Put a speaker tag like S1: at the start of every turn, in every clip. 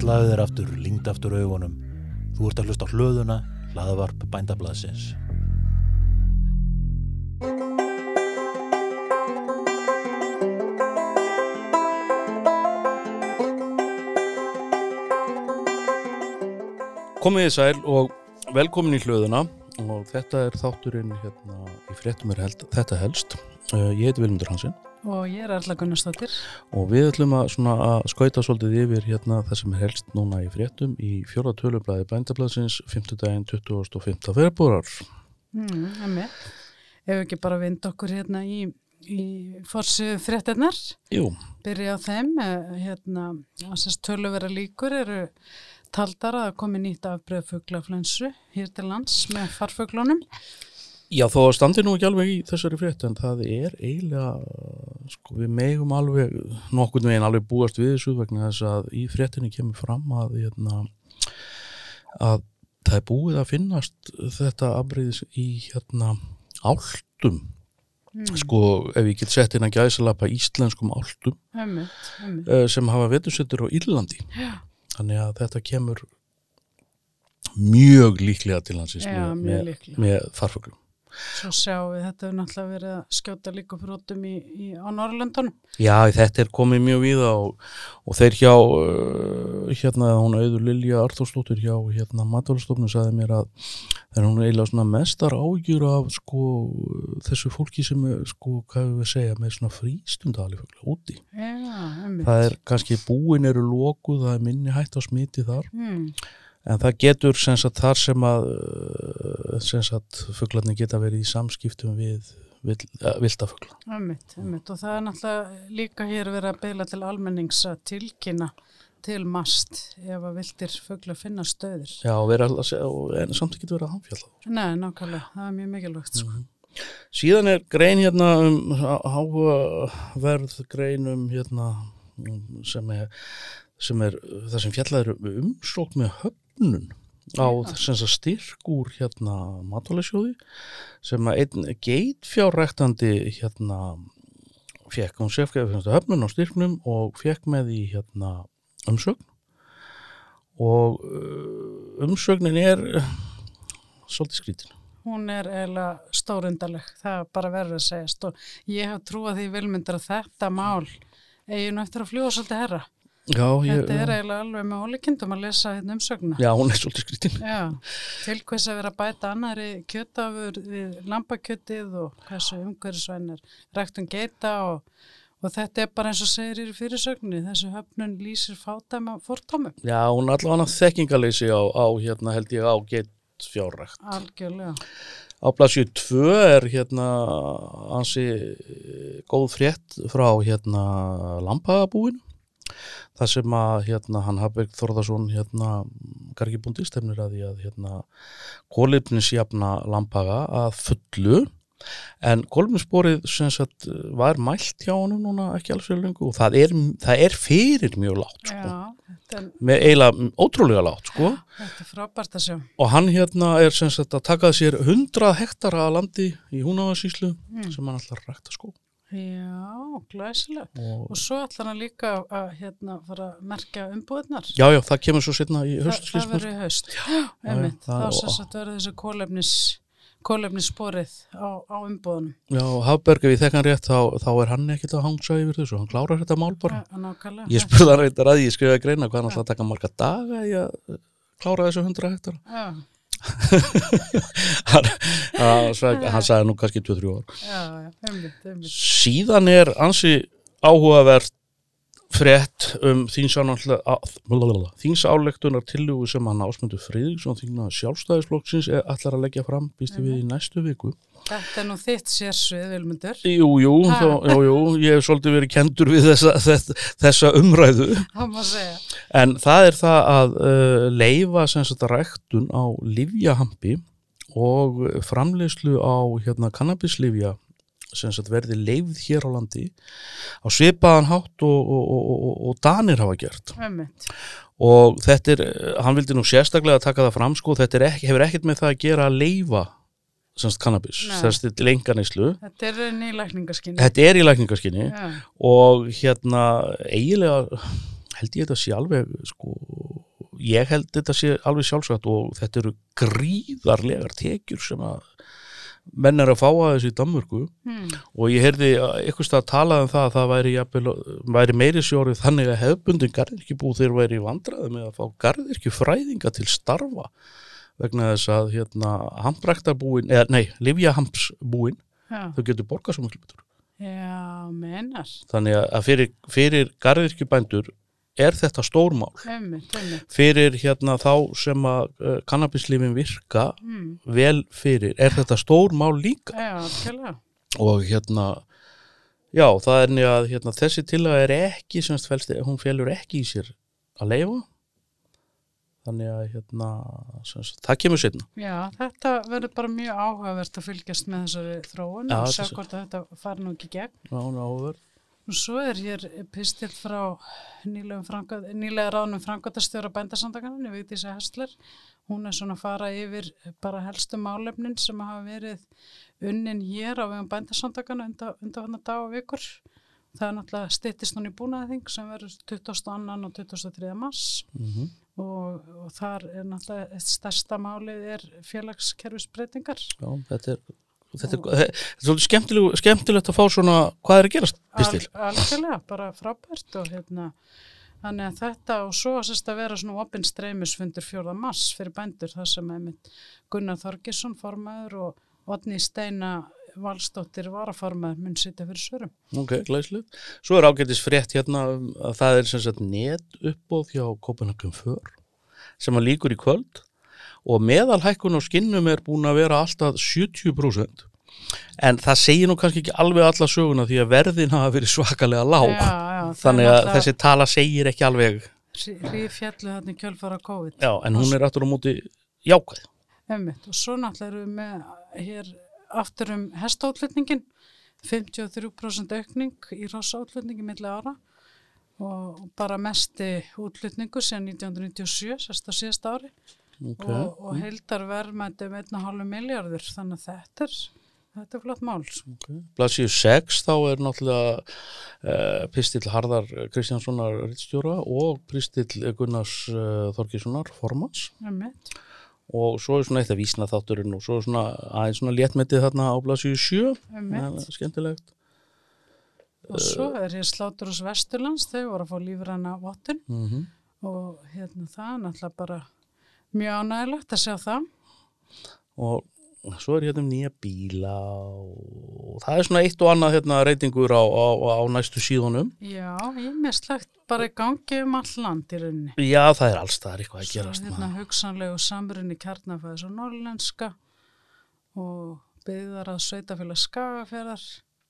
S1: Slaðu þér aftur, lingd aftur augunum. Þú ert að hlusta á hlöðuna, hlaðvarp bændablaðsins.
S2: Komið í sæl og velkomin í hlöðuna og þetta er þátturinn hérna í fréttum er held, þetta helst. Uh, ég heiti Vilmundur Hansson
S3: Og ég er Erla Gunnarsdóttir.
S2: og við ætlum að, svona, að skauta svolítið yfir hérna það sem er helst núna í fréttum í fjóra tölublaði bændablaðsins 50 daginn 25. februar.
S3: Mm, emmi. Ef við ekki bara vind okkur hérna í, í forsu fréttinnar,
S2: Jú,
S3: byrja á þeim, eh, hérna, þessast töluvera líkur eru taldar að komi nýtt afbreið fuglaflensu hér til lands með farfuglunum.
S2: já þó standi nú ekki alveg í þessari frétt en það er eiginlega, uh, sko við megum alveg, nokkurn veginn alveg búast við þessu vegna þess að í fréttinni kemur fram að hérna að það er búið að finnast þetta afbreyðis í hérna áltum
S3: Hmm.
S2: sko ef ég get sett inn að gæsalapa íslenskum áltum
S3: Emmi, emmi.
S2: eh, sem hafa vetursettur á Írlandi
S3: Já.
S2: þannig að þetta kemur mjög líklega til hansins
S3: Já,
S2: með,
S3: mjög
S2: með,
S3: líklega.
S2: með farfuglum
S3: Svo sjáum við þetta er náttúrulega verið að skjóta líka brotum í, í, á Norrlöndunum.
S2: Já, þetta er komið mjög víða og, og þeir hjá uh, hérna, hún auður Lilja Arþórsdóttir hjá hérna matvælstofnum sagði mér að það er hún eiginlega svona mestar ágjur af sko þessu fólki sem er, sko, hvað við segja, með svona frístundalifugla úti.
S3: Já, emmi.
S2: Það er kannski búin eru lokuð, það er minni hætt á smiti þar
S3: Mm,
S2: en það getur sem sagt þar sem að uh, sem sagt fuglarnir geta verið í samskiptum við vill, uh, viltafugla.
S3: Ömmit, ömmit og það er náttúrulega líka hér verið að beila til almennings að tilkynna til mast ef að viltir fugla finna stöður.
S2: Já, og vera alltaf, en samt ekki verið að hanfjalla.
S3: Nei, nákvæmlega, það er mjög mikilvægt sko.
S2: Síðan er grein hérna um háverð grein um hérna um, sem er, sem er uh, það sem fjallaður umsókn með höfnun á sem sagt styrk úr hérna matálasjóði sem að einn geitfjárrektandi hérna fekk, hún sefkaði fyrir hérna höfnun á styrknum og fekk með í hérna umsögn og uh, umsögnin er uh, svolítið skrítin
S3: Hún er eiginlega stórundaleg, það er bara verður að segjast og ég hef trúað því vilmyndur að þetta mál eiginu eftir að fljúa svolítið herra.
S2: Já,
S3: Þetta er eiginlega alveg með ólíkindum að lesa hérna umsögna.
S2: Já, hún er svolítið skrítin.
S3: Já, til hvers að vera að bæta annari kjötafur við lambakjötið og hversu umhverfisvænir ræktun geita og, og þetta er bara eins og segir í fyrirsögnu, þessu höfnun lýsir fátæma fórtámum,
S2: Já, hún er allavega þekkingaleysi á, á hérna held ég á gett fjárrækt.
S3: algjörlega.
S2: Á plassju 2 er hérna ansi eh, góð frétt frá hérna lampabúin. Það sem að hérna hann Habeck Þorðarsson hérna gargibúndi stefnir að því að hérna kólifnisjafna lampaga að fullu en kólifnisborið sem sagt var mælt hjá honum núna ekki alls fyrir lengu og það er, það er fyrir mjög lágt sko.
S3: Já, þetta er,
S2: með eiginlega ótrúlega látt sko
S3: þetta er frábært að sjá.
S2: og hann hérna er sem sagt að taka sér 100 hektara að landi í húnáðarsýslu
S3: Hmm.
S2: sem hann ætlar að rækta sko
S3: Já, glæsilegt.
S2: og
S3: Og svo ætlar hann líka að hérna fara að merkja umbúðnar.
S2: já já það kemur svo setna í sko.
S3: Þa,
S2: höst
S3: það
S2: skilst mér.
S3: verður í haust. Já, einmitt,
S2: það-
S3: þá sem sagt verður þessu kólefnis, kólefnissporið á, á umbúðunum.
S2: já Hafberg ef ég þekkan rétt þá, þá er hann ekkert að hangsa yfir þessu hann klárar þetta mál bara
S3: Já, nákvæmlega.
S2: ég spurði hann reyndar að því, ég skrifaði greina hvað hann ætlar að taka marga daga í að eh, klára þessu 100 hektara
S3: Já,
S2: hann, hann, sagði, hann sagði nú kannski 2-3 ár
S3: já, já, einmitt, einmitt.
S2: síðan er ansi áhugavert frétt um þýnsálektunar tillögu sem hann ásmöndu Friðriksson þýgnaði sjálfstæðisflokksins er allar að leggja fram býstu við í næstu viku
S3: Þetta er nú þitt sérsvið, Vilmundur.
S2: Jú, jú,
S3: Ha.
S2: þá, jú, jú, ég hef svolítið verið kendur við þessa, þess, þessa umræðu
S3: Það má segja.
S2: en það er það að uh, leifa sem sagt ræktun á livjahampi og framleiðslu á hérna kannabislifja sem sagt verði leifð hér á landi á svipaðan hátt og, og, og, og, og danir hafa gert
S3: Einmitt.
S2: og þetta er, eh, hann vildi nú sérstaklega taka það fram sko, þetta er ekki, hefur ekkert með það að gera að leifa sem sagt kannabis,
S3: Nei.
S2: þess til lengarneyslu
S3: Þetta er nýlækningaskinni.
S2: þetta er í lækningaskinni
S3: Já,
S2: og hérna eiginlega held ég þetta sé alveg sko, ég held þetta sé alveg sjálfsagt og þetta eru gríðarlegar tekjur sem að menn er að fá að þessu í Danmörku
S3: Hmm.
S2: og ég heyrði eitthvað að tala um það að það væri, jafnvel, væri meiri sjórið þannig að hefbundin garðirkjubú þeir væri í vandræði með að fá garðirkjufræðinga til starfa vegna þess að hérna hambræktarbúin, eða nei, livjahampsbúin
S3: Já,
S2: þau getur borgað svo miklu betur
S3: já mennar.
S2: þannig að fyrir, fyrir garðirkjubændur er þetta stórmál
S3: Ömmit, ömmit.
S2: fyrir hérna þá sem að uh, kannabislífin virka
S3: Hmm.
S2: vel fyrir, er þetta stórmál líka
S3: Já, algjörlega.
S2: og hérna já, það er nýja að hérna, þessi tillaga er ekki semst fælst, hún félur ekki í sér að leifa þannig að hérna semst, það kemur setna
S3: Já, þetta verður bara mjög áhugavert að fylgjast með þessari þróun
S2: Já,
S3: og sjá
S2: þessu-
S3: hvort að þetta fari nú ekki í gegn.
S2: já,
S3: Og svo er hér pistil frá nýlega, franga, nýlega ráðnum frangatastjóra bændasamtakaninu, Vigdísi Hestler. Hún er svona að fara yfir bara helstu málefnin sem hafa verið unnin hér á vegum bændasamtakana undan hann dag og vikur. Það er náttúrulega styttist hún í búnaðing sem verður 22. og 23. mars og, og þar er náttúrulega eitt stærsta málið er félagskerfisbreytingar.
S2: já, þetta er Þetta er, þetta er svolítið skemmtilegu- skemmtilegt að fá svona hvað er að gerast, Pistil?
S3: Al, algjörlega, bara frábært og hérna, þannig að þetta og svo sérst að vera svona opinn streymisfundur 4. mars fyrir bændur þar sem einmitt Gunnar Þorgesson formaður og Otni Steina Valstóttir varaformaður mun sitja fyrir svörum.
S2: Ok, glæslu. Svo er ágætis frétt hérna um að það er sem sagt net uppbóð hjá Kopenhagen för sem að líkur í kvöld og meðalhækkun á skinnum er búin að vera alltaf 70% en það segir nú kannski ekki alveg alla söguna því að verðin hafa verið svakalega lág
S3: já,
S2: þannig að þessi tala segir ekki alveg
S3: Rífjallu þarna í kjölfara COVID.
S2: já, en hún er aftur á móti jákvæð
S3: Einmitt. Og svo náttúrulega erum við með hér aftur um hestáflutningin, 53% aukning í rossáflutningi milli ára og og bara mesti útlutningu síðan 1997, sérst á síðasta ári
S2: okay.
S3: og, og heildar verðmætti um 1,5 miljardur, þannig að þetta er, þetta er flott mál. sko.
S2: Blassíu 6 þá er náttúrulega uh, Pistill Harðar Kristjánssonar Rittstjóra og Pistill Gunnars uh, Þorkíssonar Formans
S3: Einmitt.
S2: og svo er svona eitt að vísna þátturinn og svo er svona aðeins svona léttmetið þarna á blaðsíu 7
S3: Einmitt.
S2: skemmtilegt
S3: Og svo er hér slátur hos Vesturlands, þau voru að fá lífræna vottun
S2: mm
S3: og hérna það er náttúrulega bara mjög ánægilegt að sjá það.
S2: og svo er hérna um nýja bíla og það er svona eitt og annað hérna reytingur á, á, á næstu síðunum
S3: Já, ég mislegt bara í gangi um all land í rauninni.
S2: já það er alls það er eitthvað að gerast
S3: Svo hérna
S2: maður.
S3: hugsanlegu samrunni kjarnafæðis og norlenska og byggðar að sveitafélag skagaferðar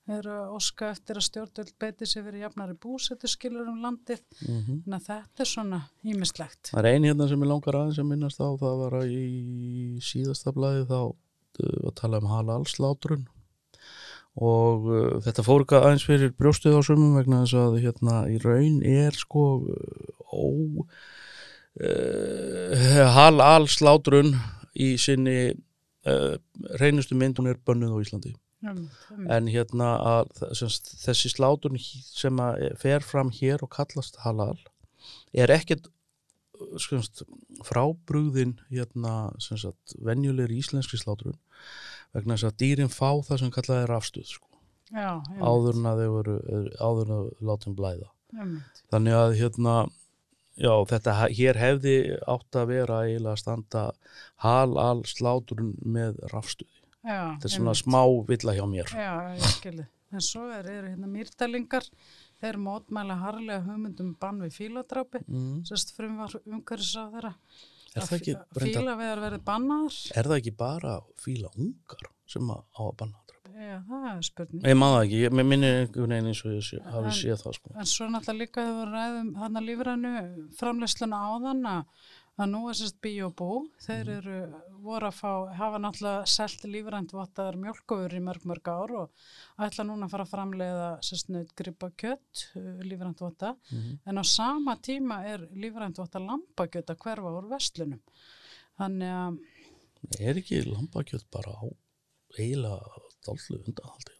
S3: eru að óska eftir að stjórnvöld beiti sér fyrir jafnari búsetu skilur um landið.
S2: Mhm.
S3: Þannig að þetta er svona ímislegt.
S2: það er ein hérna sem ég langar aðeins að minnast á það var að í síðasta blaði þá uh, að tala um halalslátrun og uh, þetta fór eitthvað aðeins fyrir brjóstuð á sumum vegna þess að hérna í raun er sko uh, ó uh, halalslátrun í sinni uh, reynustu mynd hún er bönnuð á Íslandi
S3: Um, um,
S2: en hérna að þ- sem sagt, þessi slátrun hí- sem að fer fram hér og kallast halal er ekkert skumst, frábrúðin hérna sem sagt venjulegri íslenski slátrun vegna þess að dýrin fá það sem kallað er afstuð sko,
S3: já, um,
S2: áður en að þau eru áður en að látum blæða
S3: um,
S2: þannig að hérna já, þetta he- hér hefði átt að vera eiginlega að standa halal slátrun með rafstuði
S3: já,
S2: þetta er
S3: um,
S2: svona smá villa hjá mér
S3: Já, ég skilði. En svo er, eru hérna mýrtælingar, þeir mótmæla harlega hugmyndum um bann við fíladrápi.
S2: mm.
S3: sérst frumvar umhverfis á þeirra
S2: er það ekki reyndar
S3: fíla vegar verið bannaðar
S2: Er það ekki bara fíla ungar sem að á að banna að drepa?
S3: já, það er spurning
S2: Ég maður það ekki, ég mér minnir einhvern veginn eins og ég sé, hafi
S3: En-
S2: séð það sko.
S3: en svo náttúrulega líka hefur við ræðum hann að um lífrænu framleysluna áðan að að nú er sérst biobú þeir eru voru að fá hafa náttúrulega selt lífrænt vottaðar mjölkofur í mörg mörg ár og ætla núna að fara að framleiða sérst nöitt gripa kjött lífrænt votta
S2: Mhm.
S3: en á sama tíma er lífrænt votta lambakjött að hverfa úr vestlunum þannig að
S2: Er ekki lambakjöld bara á eiginlega dálflu undanhaldi?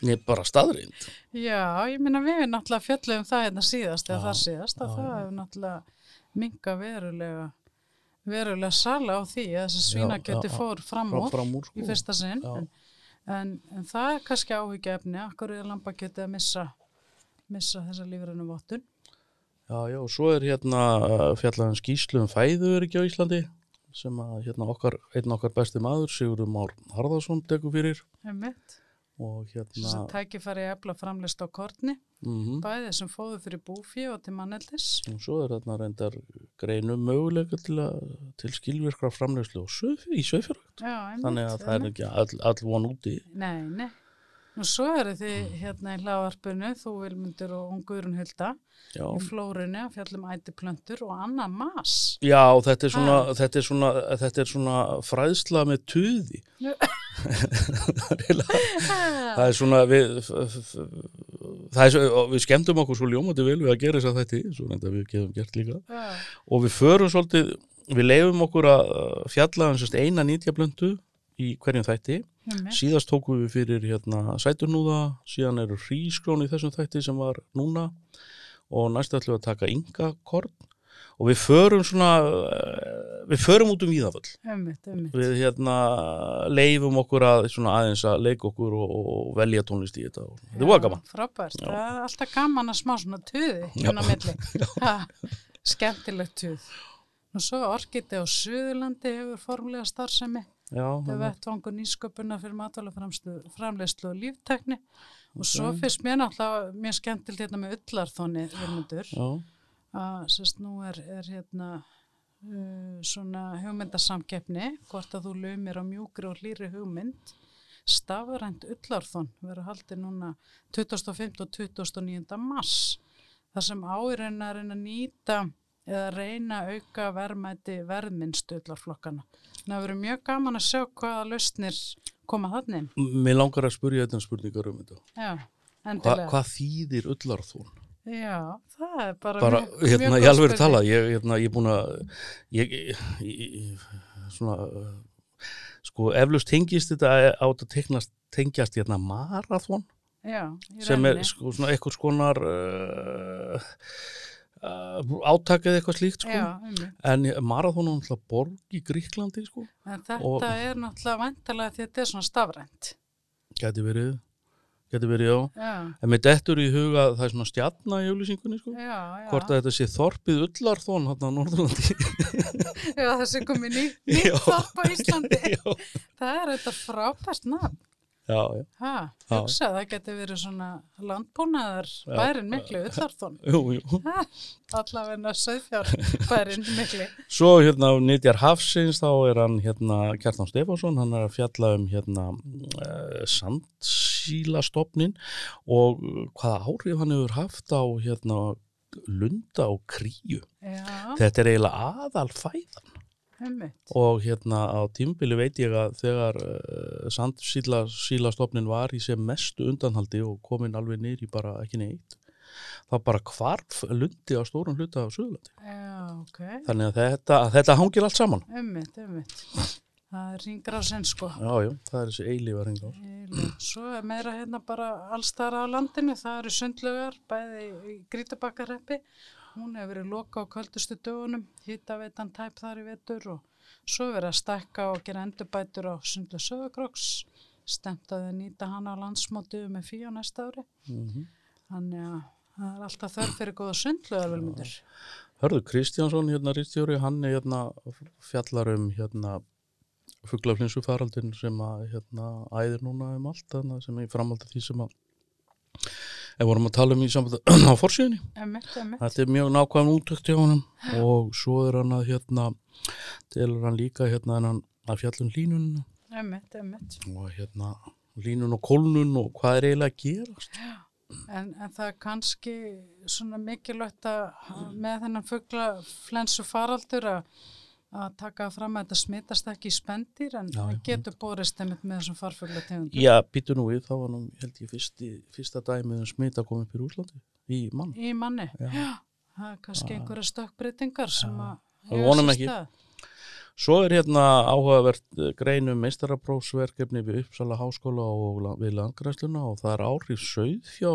S2: Nei, bara staðrind.
S3: Já, ég minna við erum náttúrulega fjöllum það hérna síðast eða
S1: Já,
S3: þar síðast að
S1: já,
S3: það
S1: já.
S3: hefur náttúrulega minga verulega verulega sala á því að þessi
S1: Já,
S3: svínakjöti
S1: já, já.
S3: fór fram
S2: Frá,
S3: úr
S2: fram úr,
S3: í
S2: sko.
S3: fyrsta sinn
S1: Já.
S3: en, en, en það er kannski áhyggjefni akkur er lambakjöti að missa missa þessa lífrannu vottun
S2: Já, já, og svo er hérna fjallaðan skýslu um fæður ekki á Íslandi sem að hérna okkar, einn okkar besti maður, Sigurður Már Harðarsson tekur fyrir
S3: einmitt,
S2: og
S3: þess
S2: hérna
S3: að tækifæri að efla framlist á kortni,
S2: mm
S3: bæði sem fóðu fyrir búfí og til manneldis
S2: og svo er hérna reyndar greinum möguleika til, að, til skilvirkra framlegslu og söfi, í söfjörg
S3: Mm, Já, einmitt,
S2: þannig að það er
S3: einmitt.
S2: ekki all, all von úti
S3: Nei, nei. Nú svo eru þið hérna í hlaðvarpinu, þú Vilmundur og Ungurun Hulda,
S2: Já,
S3: í flórunni að fjallum ætiplöntur og annað mas.
S2: já þetta, er svona,
S3: Ah.
S2: þetta, er svona, þetta er svona fræðsla með tuði
S3: Já.
S2: Það er eiginlega það er svona við, f- f- það er, svo- og við skemmtum okkur svo ljómandi vel við að gera þess að þetta svo reynda við getum gert líka
S3: Já,
S2: og við förum svolítið, við leifum okkur að uh, fjalla um sérst eina nýtjablöndu í hverjum þætti
S3: einmitt.
S2: síðast tókum við fyrir hérna sæturnúða, síðan eru hrískrón í þessum þætti sem var núna og næst ætlum við að taka yngakorn og við förum svona uh, við förum út um víðaföll
S3: einmitt, einmitt.
S2: við hérna leifum okkur að svona aðeins að leika okkur og, og og velja tónlist í þetta og þetta er voða gaman
S3: Já, Frábært, það er alltaf gaman að smá svona tuði hérna á milli. Ha, Skemmtilegt tuð. Nú svo orkiti á Suðurlandi hefur formlega starfsemi.
S2: já,
S3: Þau
S2: þannig-
S3: vettvangur nýsköpuna fyrir matvælaframleyslu og líftekni og svo finnst mér náttúrulega mér skemmtilt hérna með ullarþóni Vilmundur
S2: já,
S3: að sérst nú er, er hérna uh, svona hugmyndasamkeppni hvort að þú laumir á mjúkri og hlýri hugmynd stafrænt ullarþón verður haldið núna 25. og 29. mars þar sem áirinn að reyna að nýta eða reyna að auka verðmæti verðminnstu ullarflokkana það verður mjög gaman að sjá hvaða lausnir koma þannig
S2: mér langar að spurja þetta spurningar um þetta
S3: Já,
S2: Hva,
S3: endilega
S2: hvað þýðir ullarþón?
S3: Já, það er bara,
S2: bara,
S3: mjög,
S2: hérna, ég
S3: mjög góð
S2: alveg
S3: spurning.
S2: tala ég, hérna, ég er búin að ég, ég, ég, svona uh, sko, eflust tengist þetta átt að tegnast, tengjast hérna marathon
S3: Já, í
S2: sem er
S3: rauninni.
S2: sko, svona eitthvað skonar uh, uh, átakið eitthvað slíkt sko.
S3: Já, einmitt.
S2: En Marathon er náttúrulega borg í Gríklandi, sko.
S3: En þetta
S2: Og-
S3: er náttúrulega vantarlega því að þetta er svona stafrænt.
S2: Gæti verið, gæti verið, já.
S3: Já,
S2: En með dettur í huga að það er svona stjarna í jólýsingunni, sko.
S3: já, já.
S2: Hvort að þetta sé þorpið Ullarþón hann á Norðurlandi.
S3: Já, þessi komið ný,
S2: Já.
S3: nýtt þorp á Íslandi.
S2: já,
S3: það er þetta frábært nafn.
S2: já, já.
S3: Ha,
S2: Já.
S3: hugsa, það geti verið svona landbúnaðar bærin miklu, Ullarþón.
S2: Jú, jú.
S3: Allavegna söðfjár bærin miklu.
S2: Svo hérna á Nýtjar Hafsins þá er hann hérna Kjartan Stefánsson, hann er að fjalla um hérna uh, sandsílastofnin og eh, hvaða áhrif hann hefur haft á hérna lunda og kríu.
S3: Já,
S2: Þetta er eiginlega aðal fæðan.
S3: einmitt.
S2: og hérna á tímbili veit ég að þegar uh, sandsílastofnin var í sem mestu undanhaldi og komin alveg niður í bara ekki neitt þá bara hvarf lundi á stórum hluta á Suðurlandi.
S3: Já, ok.
S2: Þannig að þetta, að þetta hangir allt saman.
S3: Einmitt, einmitt. Það er ringrásin sko.
S2: Já, já, það er þessi eilífa ringar.
S3: Eiginlega. Svo er meira hérna bara allstar á landinu, það eru sundlögar, bæði í Grítabakkarreppi, hún hefur verið loka á kvöldustu dögunum, hittaveitan tæp þar í vetur og svo er verið að stækka og gera endurbætur á sundlu sögakroks, stemt að þau nýta hana á landsmótiðu með fí á næsta ári,
S2: Mm
S3: þannig að það er alltaf þörf fyrir góða sundlögar velmyndur.
S2: Hörðu, Kristjánsson hérna Ristjóri, hann er hérna fjallar um hérna fuglaflinsu faraldin sem að hérna æðir núna um allt þannig sem ég framaldi því sem að ef vorum að tala um í samband á forsíðinni
S3: Emmett, emmett,
S2: Þetta er mjög nákvæm útökt hjá honum og svo er hann að hérna telur hann líka hérna en hann að fjallum línununa
S3: emmett, emmett.
S2: og hérna línun og kólnun og hvað er eiginlega að gerast
S3: En, en það er kannski svona mikilvægt að með þennan fugla flensu faraldur að, að taka fram að þetta smitast ekki í spendir en
S2: Já,
S3: það
S2: já.
S3: getur borist einmitt með þessum farfugla tegundum.
S2: Já, býtu nú við, þá var nú held ég fyrsti, fyrsta dæmið um smita komið upp í Rúslandi í mann
S3: Í manni.
S2: Já.
S3: Það er kannski einhverja stökkbreytingar sem að
S2: Við vonum
S3: sér
S2: ekki.
S3: stað.
S2: Svo er hérna áhugavert eh, grein um meistaraprófsverkefni við Uppsala háskóla og la- við landgræsluna og það er áhrif sauðfjá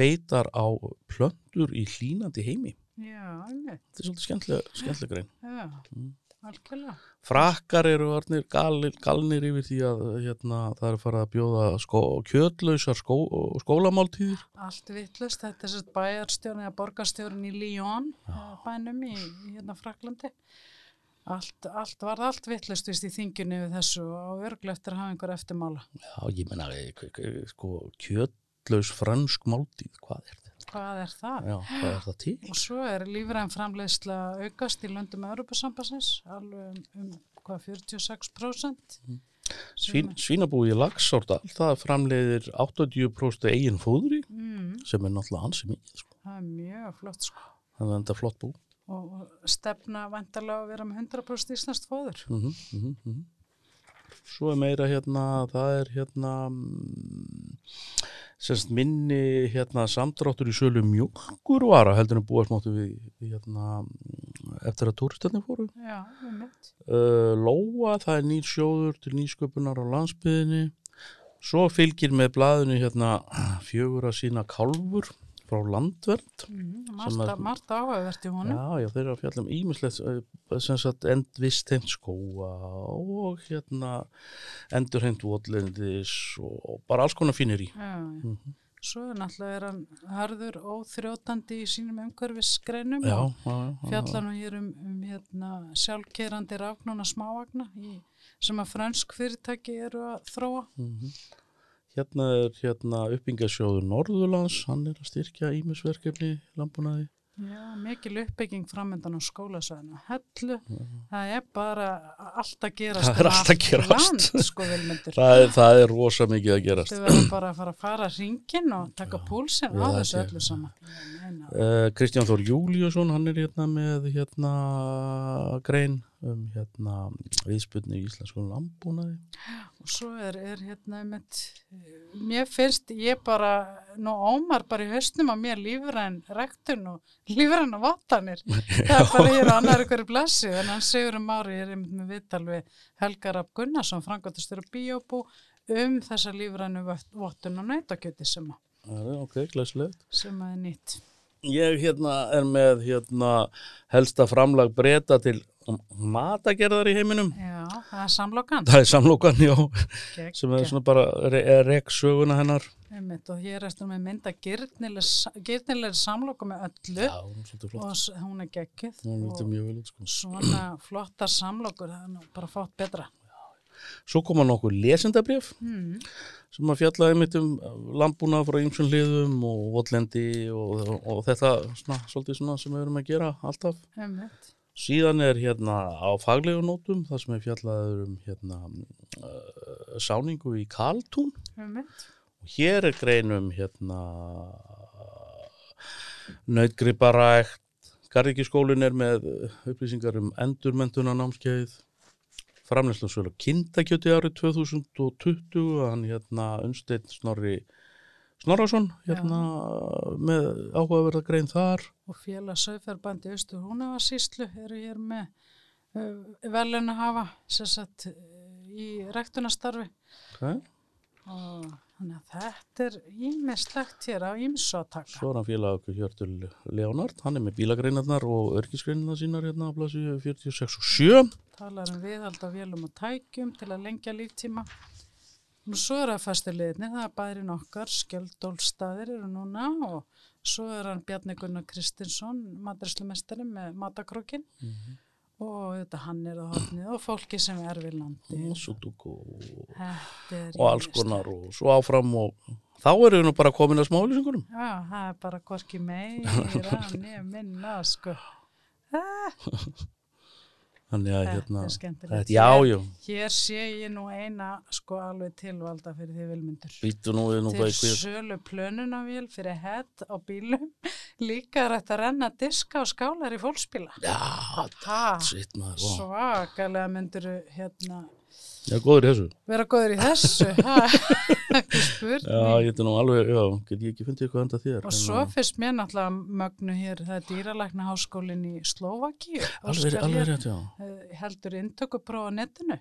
S2: beitar á plöndur í hlínandi heimi.
S3: já, alveg,
S2: Þetta er svolítið skemmtilega, skemmtilega grein.
S3: já,
S2: Mm.
S3: algjörlega.
S2: Frakkar eru orðnir galnir, galnir yfir því að hérna, það er farið að bjóða skó, kjötlausar skó, skólamáltíðir.
S3: Allt vittlust, þetta er sér bæjarstjórn eða borgarstjórn í Lyon, eh, bænum í, í hérna Fraklandi. Allt, allt varð allt vittlust vist í þingjunni við þessu og örglega eftir að hafa einhver eftirmála.
S2: Já, ég menna, sko, kjötlaus fransk máltíð, hvað er þetta?
S3: Hvað er það?
S2: Já, hvað er það til?
S3: Og svo er lífræðin framleiðsla aukast í löndum Europasambassins, alveg um, um hvað, 46%?
S2: Svín, svínabúið í Lagsórdal, það framleiðir 80% eigin fóðri
S3: Mm,
S2: sem er náttúrulega hans sem mikið, sko.
S3: það er mjög flott sko.
S2: Þannig að þetta er flott bú.
S3: Og og stefna vantarlega að vera með 100% íslenskt fóður.
S2: Mm -hmm, mm -hmm. Svo er meira hérna, það er hérna, mm, semst minni hérna samdráttur í sölu mjölkurvara heldur en búast máttu við hérna mm, eftir að túristarnir fóru.
S3: Já, um mitt.
S2: Uh, Lóa, það er nýr sjóður til nýsköpunar á landsbyðinni. Svo fylgir með blaðinu hérna fjögur að sína kálfur frá landvernd.
S3: Mm,
S2: Sem
S3: Marta,
S2: að-
S3: Marta áhugavert í honum.
S2: Já, já, þeir eru að fjalla um ímislegt eh, sem sagt endvisteint skóa og hérna endurheimt votlendis og, og bara alls konar fínir í.
S3: Já, já.
S2: Mhm.
S3: Svo er náttúrulega er hann harður óþrjótandi í sínum umhverfisgreinum
S2: Já,
S3: og
S2: já, já.
S3: Mm. fjallar nú hér um, um hérna, sjálfkerandi rafnuna smávagna í, sem að fransk fyrirtæki eru að þróa.
S2: Mhm. Hérna er hérna uppbyggasjóður Norðurlands, hann er að styrkja ímisverkefni landbúnaði.
S3: Já, mikil uppbygging framöndan á skólasvæðinu. Hellu, það er bara allt að gerast.
S2: Það er
S3: um
S2: allt að gerast.
S3: Land, sko, vilmyndur.
S2: Það er, það er rosa mikið að gerast.
S3: Þau verður bara að fara að fara ringin og taka púlsinn
S2: já,
S3: á
S2: það
S3: þessu
S2: sé-
S3: öllu saman. Ég meina,
S2: Uh, Kristján Þór Júliusson, hann er hérna með hérna grein um hérna viðspurni í íslenskum landbúnaði.
S3: Og svo er, er hérna einmitt, mér finnst ég bara, nú ómar bara í hausnum að mér lífræn rektun og lífræna vattanir. Það er bara hér á annar ykkur blessu, en hann segur um ári, ég er einmitt með viðtal við Helga Rapp Gunnarsson, frangatistur og bíóbú, um þessa lífrænu vattun og nautakjöti sem, að-
S2: Það er ok, glæslegt.
S3: sem að er nýtt.
S2: Ég hérna er með hérna helsta framlag breyta til matagerðar í heiminum.
S3: Já, það er samlokan.
S2: Það er samlokan, já,
S3: Gegn,
S2: sem er svona bara re rekk söguna hennar.
S3: einmitt, og hér er eftir með mynda gyrnilegri samloka með öllu.
S2: Já, hún er svolítið
S3: og
S2: flott.
S3: s- hún er geggið
S2: Hún
S3: og-
S2: lítið mjög vel út, sko.
S3: svona flottar samlokur, það er nú bara fátt betra.
S2: Svo koma nokkuð lesendabrif
S3: Mm.
S2: sem að fjallaði mitt um landbúnað frá ýmsum hliðum og votlendi og, og þetta svona, svolítið svona sem við erum að gera alltaf.
S3: Einmitt.
S2: Síðan er hérna á faglegu nótum það sem er fjallaður um hérna uh, sáningu í Kaltún
S3: Einmitt.
S2: og hér er grein um hérna nautgriparækt Garðikiskólin er með uh, upplýsingar um endurmenduna námskeið framleyslu sölu kindakjöti árið 2020 hann hérna Unsteinn Snorri Snorrason hérna með áhugaverða grein þar
S3: Og félag Söðferðbandi Östu Húnavarsýslu eru hér með uh, velun að hafa sem sagt, uh, í rektunastarfi
S2: okay.
S3: og þannig að þetta er ímislegt hér á ímsu að taka.
S2: Svo er hann félag okkur Hjörtur Leonard, hann er með bílagreinarnar og örgisgreinarnar sínar hérna á plassi 46 og 7.
S3: Talar um viðhald á vélum og tækjum til að lengja líftíma. Nú svo er það fastuleginni, það er bærin okkar, skjöldólstaðir eru núna og svo er hann Bjarni Gunnar Kristinsson, mataræslumestari með matakrókin
S2: Mhm.
S3: og þetta hann er á hotnið og fólki sem er við landi.
S2: og Sudoku og-
S3: Þetta er
S2: og alls
S3: ýmislegt.
S2: konar og svo áfram og þá erum við nú bara komin að smálusingurum.
S3: Já, það er bara hvorki meira, nýja minna, sko.
S2: Þannig að
S3: Þetta er
S2: hérna,
S3: skemmtilegt.
S2: þetta, já, já,
S3: Hér sé ég nú eina, sko, alveg tilvalda fyrir því vilmyndur.
S2: býttu nú við nú
S3: til
S2: bara í hver.
S3: sölu plönunavél fyrir hett á bílum líka er hægt að renna diska og skálar í fólksbíla
S2: Já,
S3: ha,
S2: sitt maður, vá.
S3: svakalega myndur hérna
S2: Já, góður í þessu.
S3: vera góður í þessu ha, ekki spurning
S2: Já, ég geti nú alveg, já, get ég ekki fundið eitthvað handa þér.
S3: og svo finnst mér náttúrulega mögnu hér það er dýralækna háskólin í Slovaki
S2: Alveg, alveg rétt, já.
S3: eh, heldur inntökupróf á netinu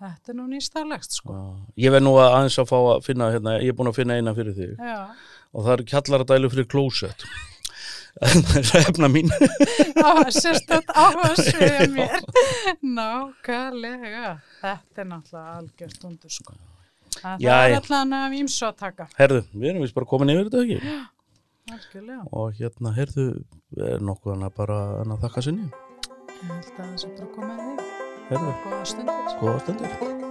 S3: þetta er nú nýstaflegt sko
S2: já. Ég verð nú að aðeins að fá að finna, hérna, ég er búin að finna eina fyrir þig.
S3: já,
S2: Og það er kjallaradælu fyrir klósett. það er efna mín.
S3: sérstætt áhersvið mér nákvæmlega þetta er náttúrulega algjört undur sko Það það er
S2: Jæja.
S3: allan af ímsu að taka
S2: Herðu, við erum vist bara komin yfir þetta ekki.
S3: algjörlega
S2: Og hérna, herðu, er nokkuð annað bara en að þakka sinni.
S3: Ég held að það sé bara komið að þig.
S2: Herðu,
S3: Góða stundir.
S2: góða stundir.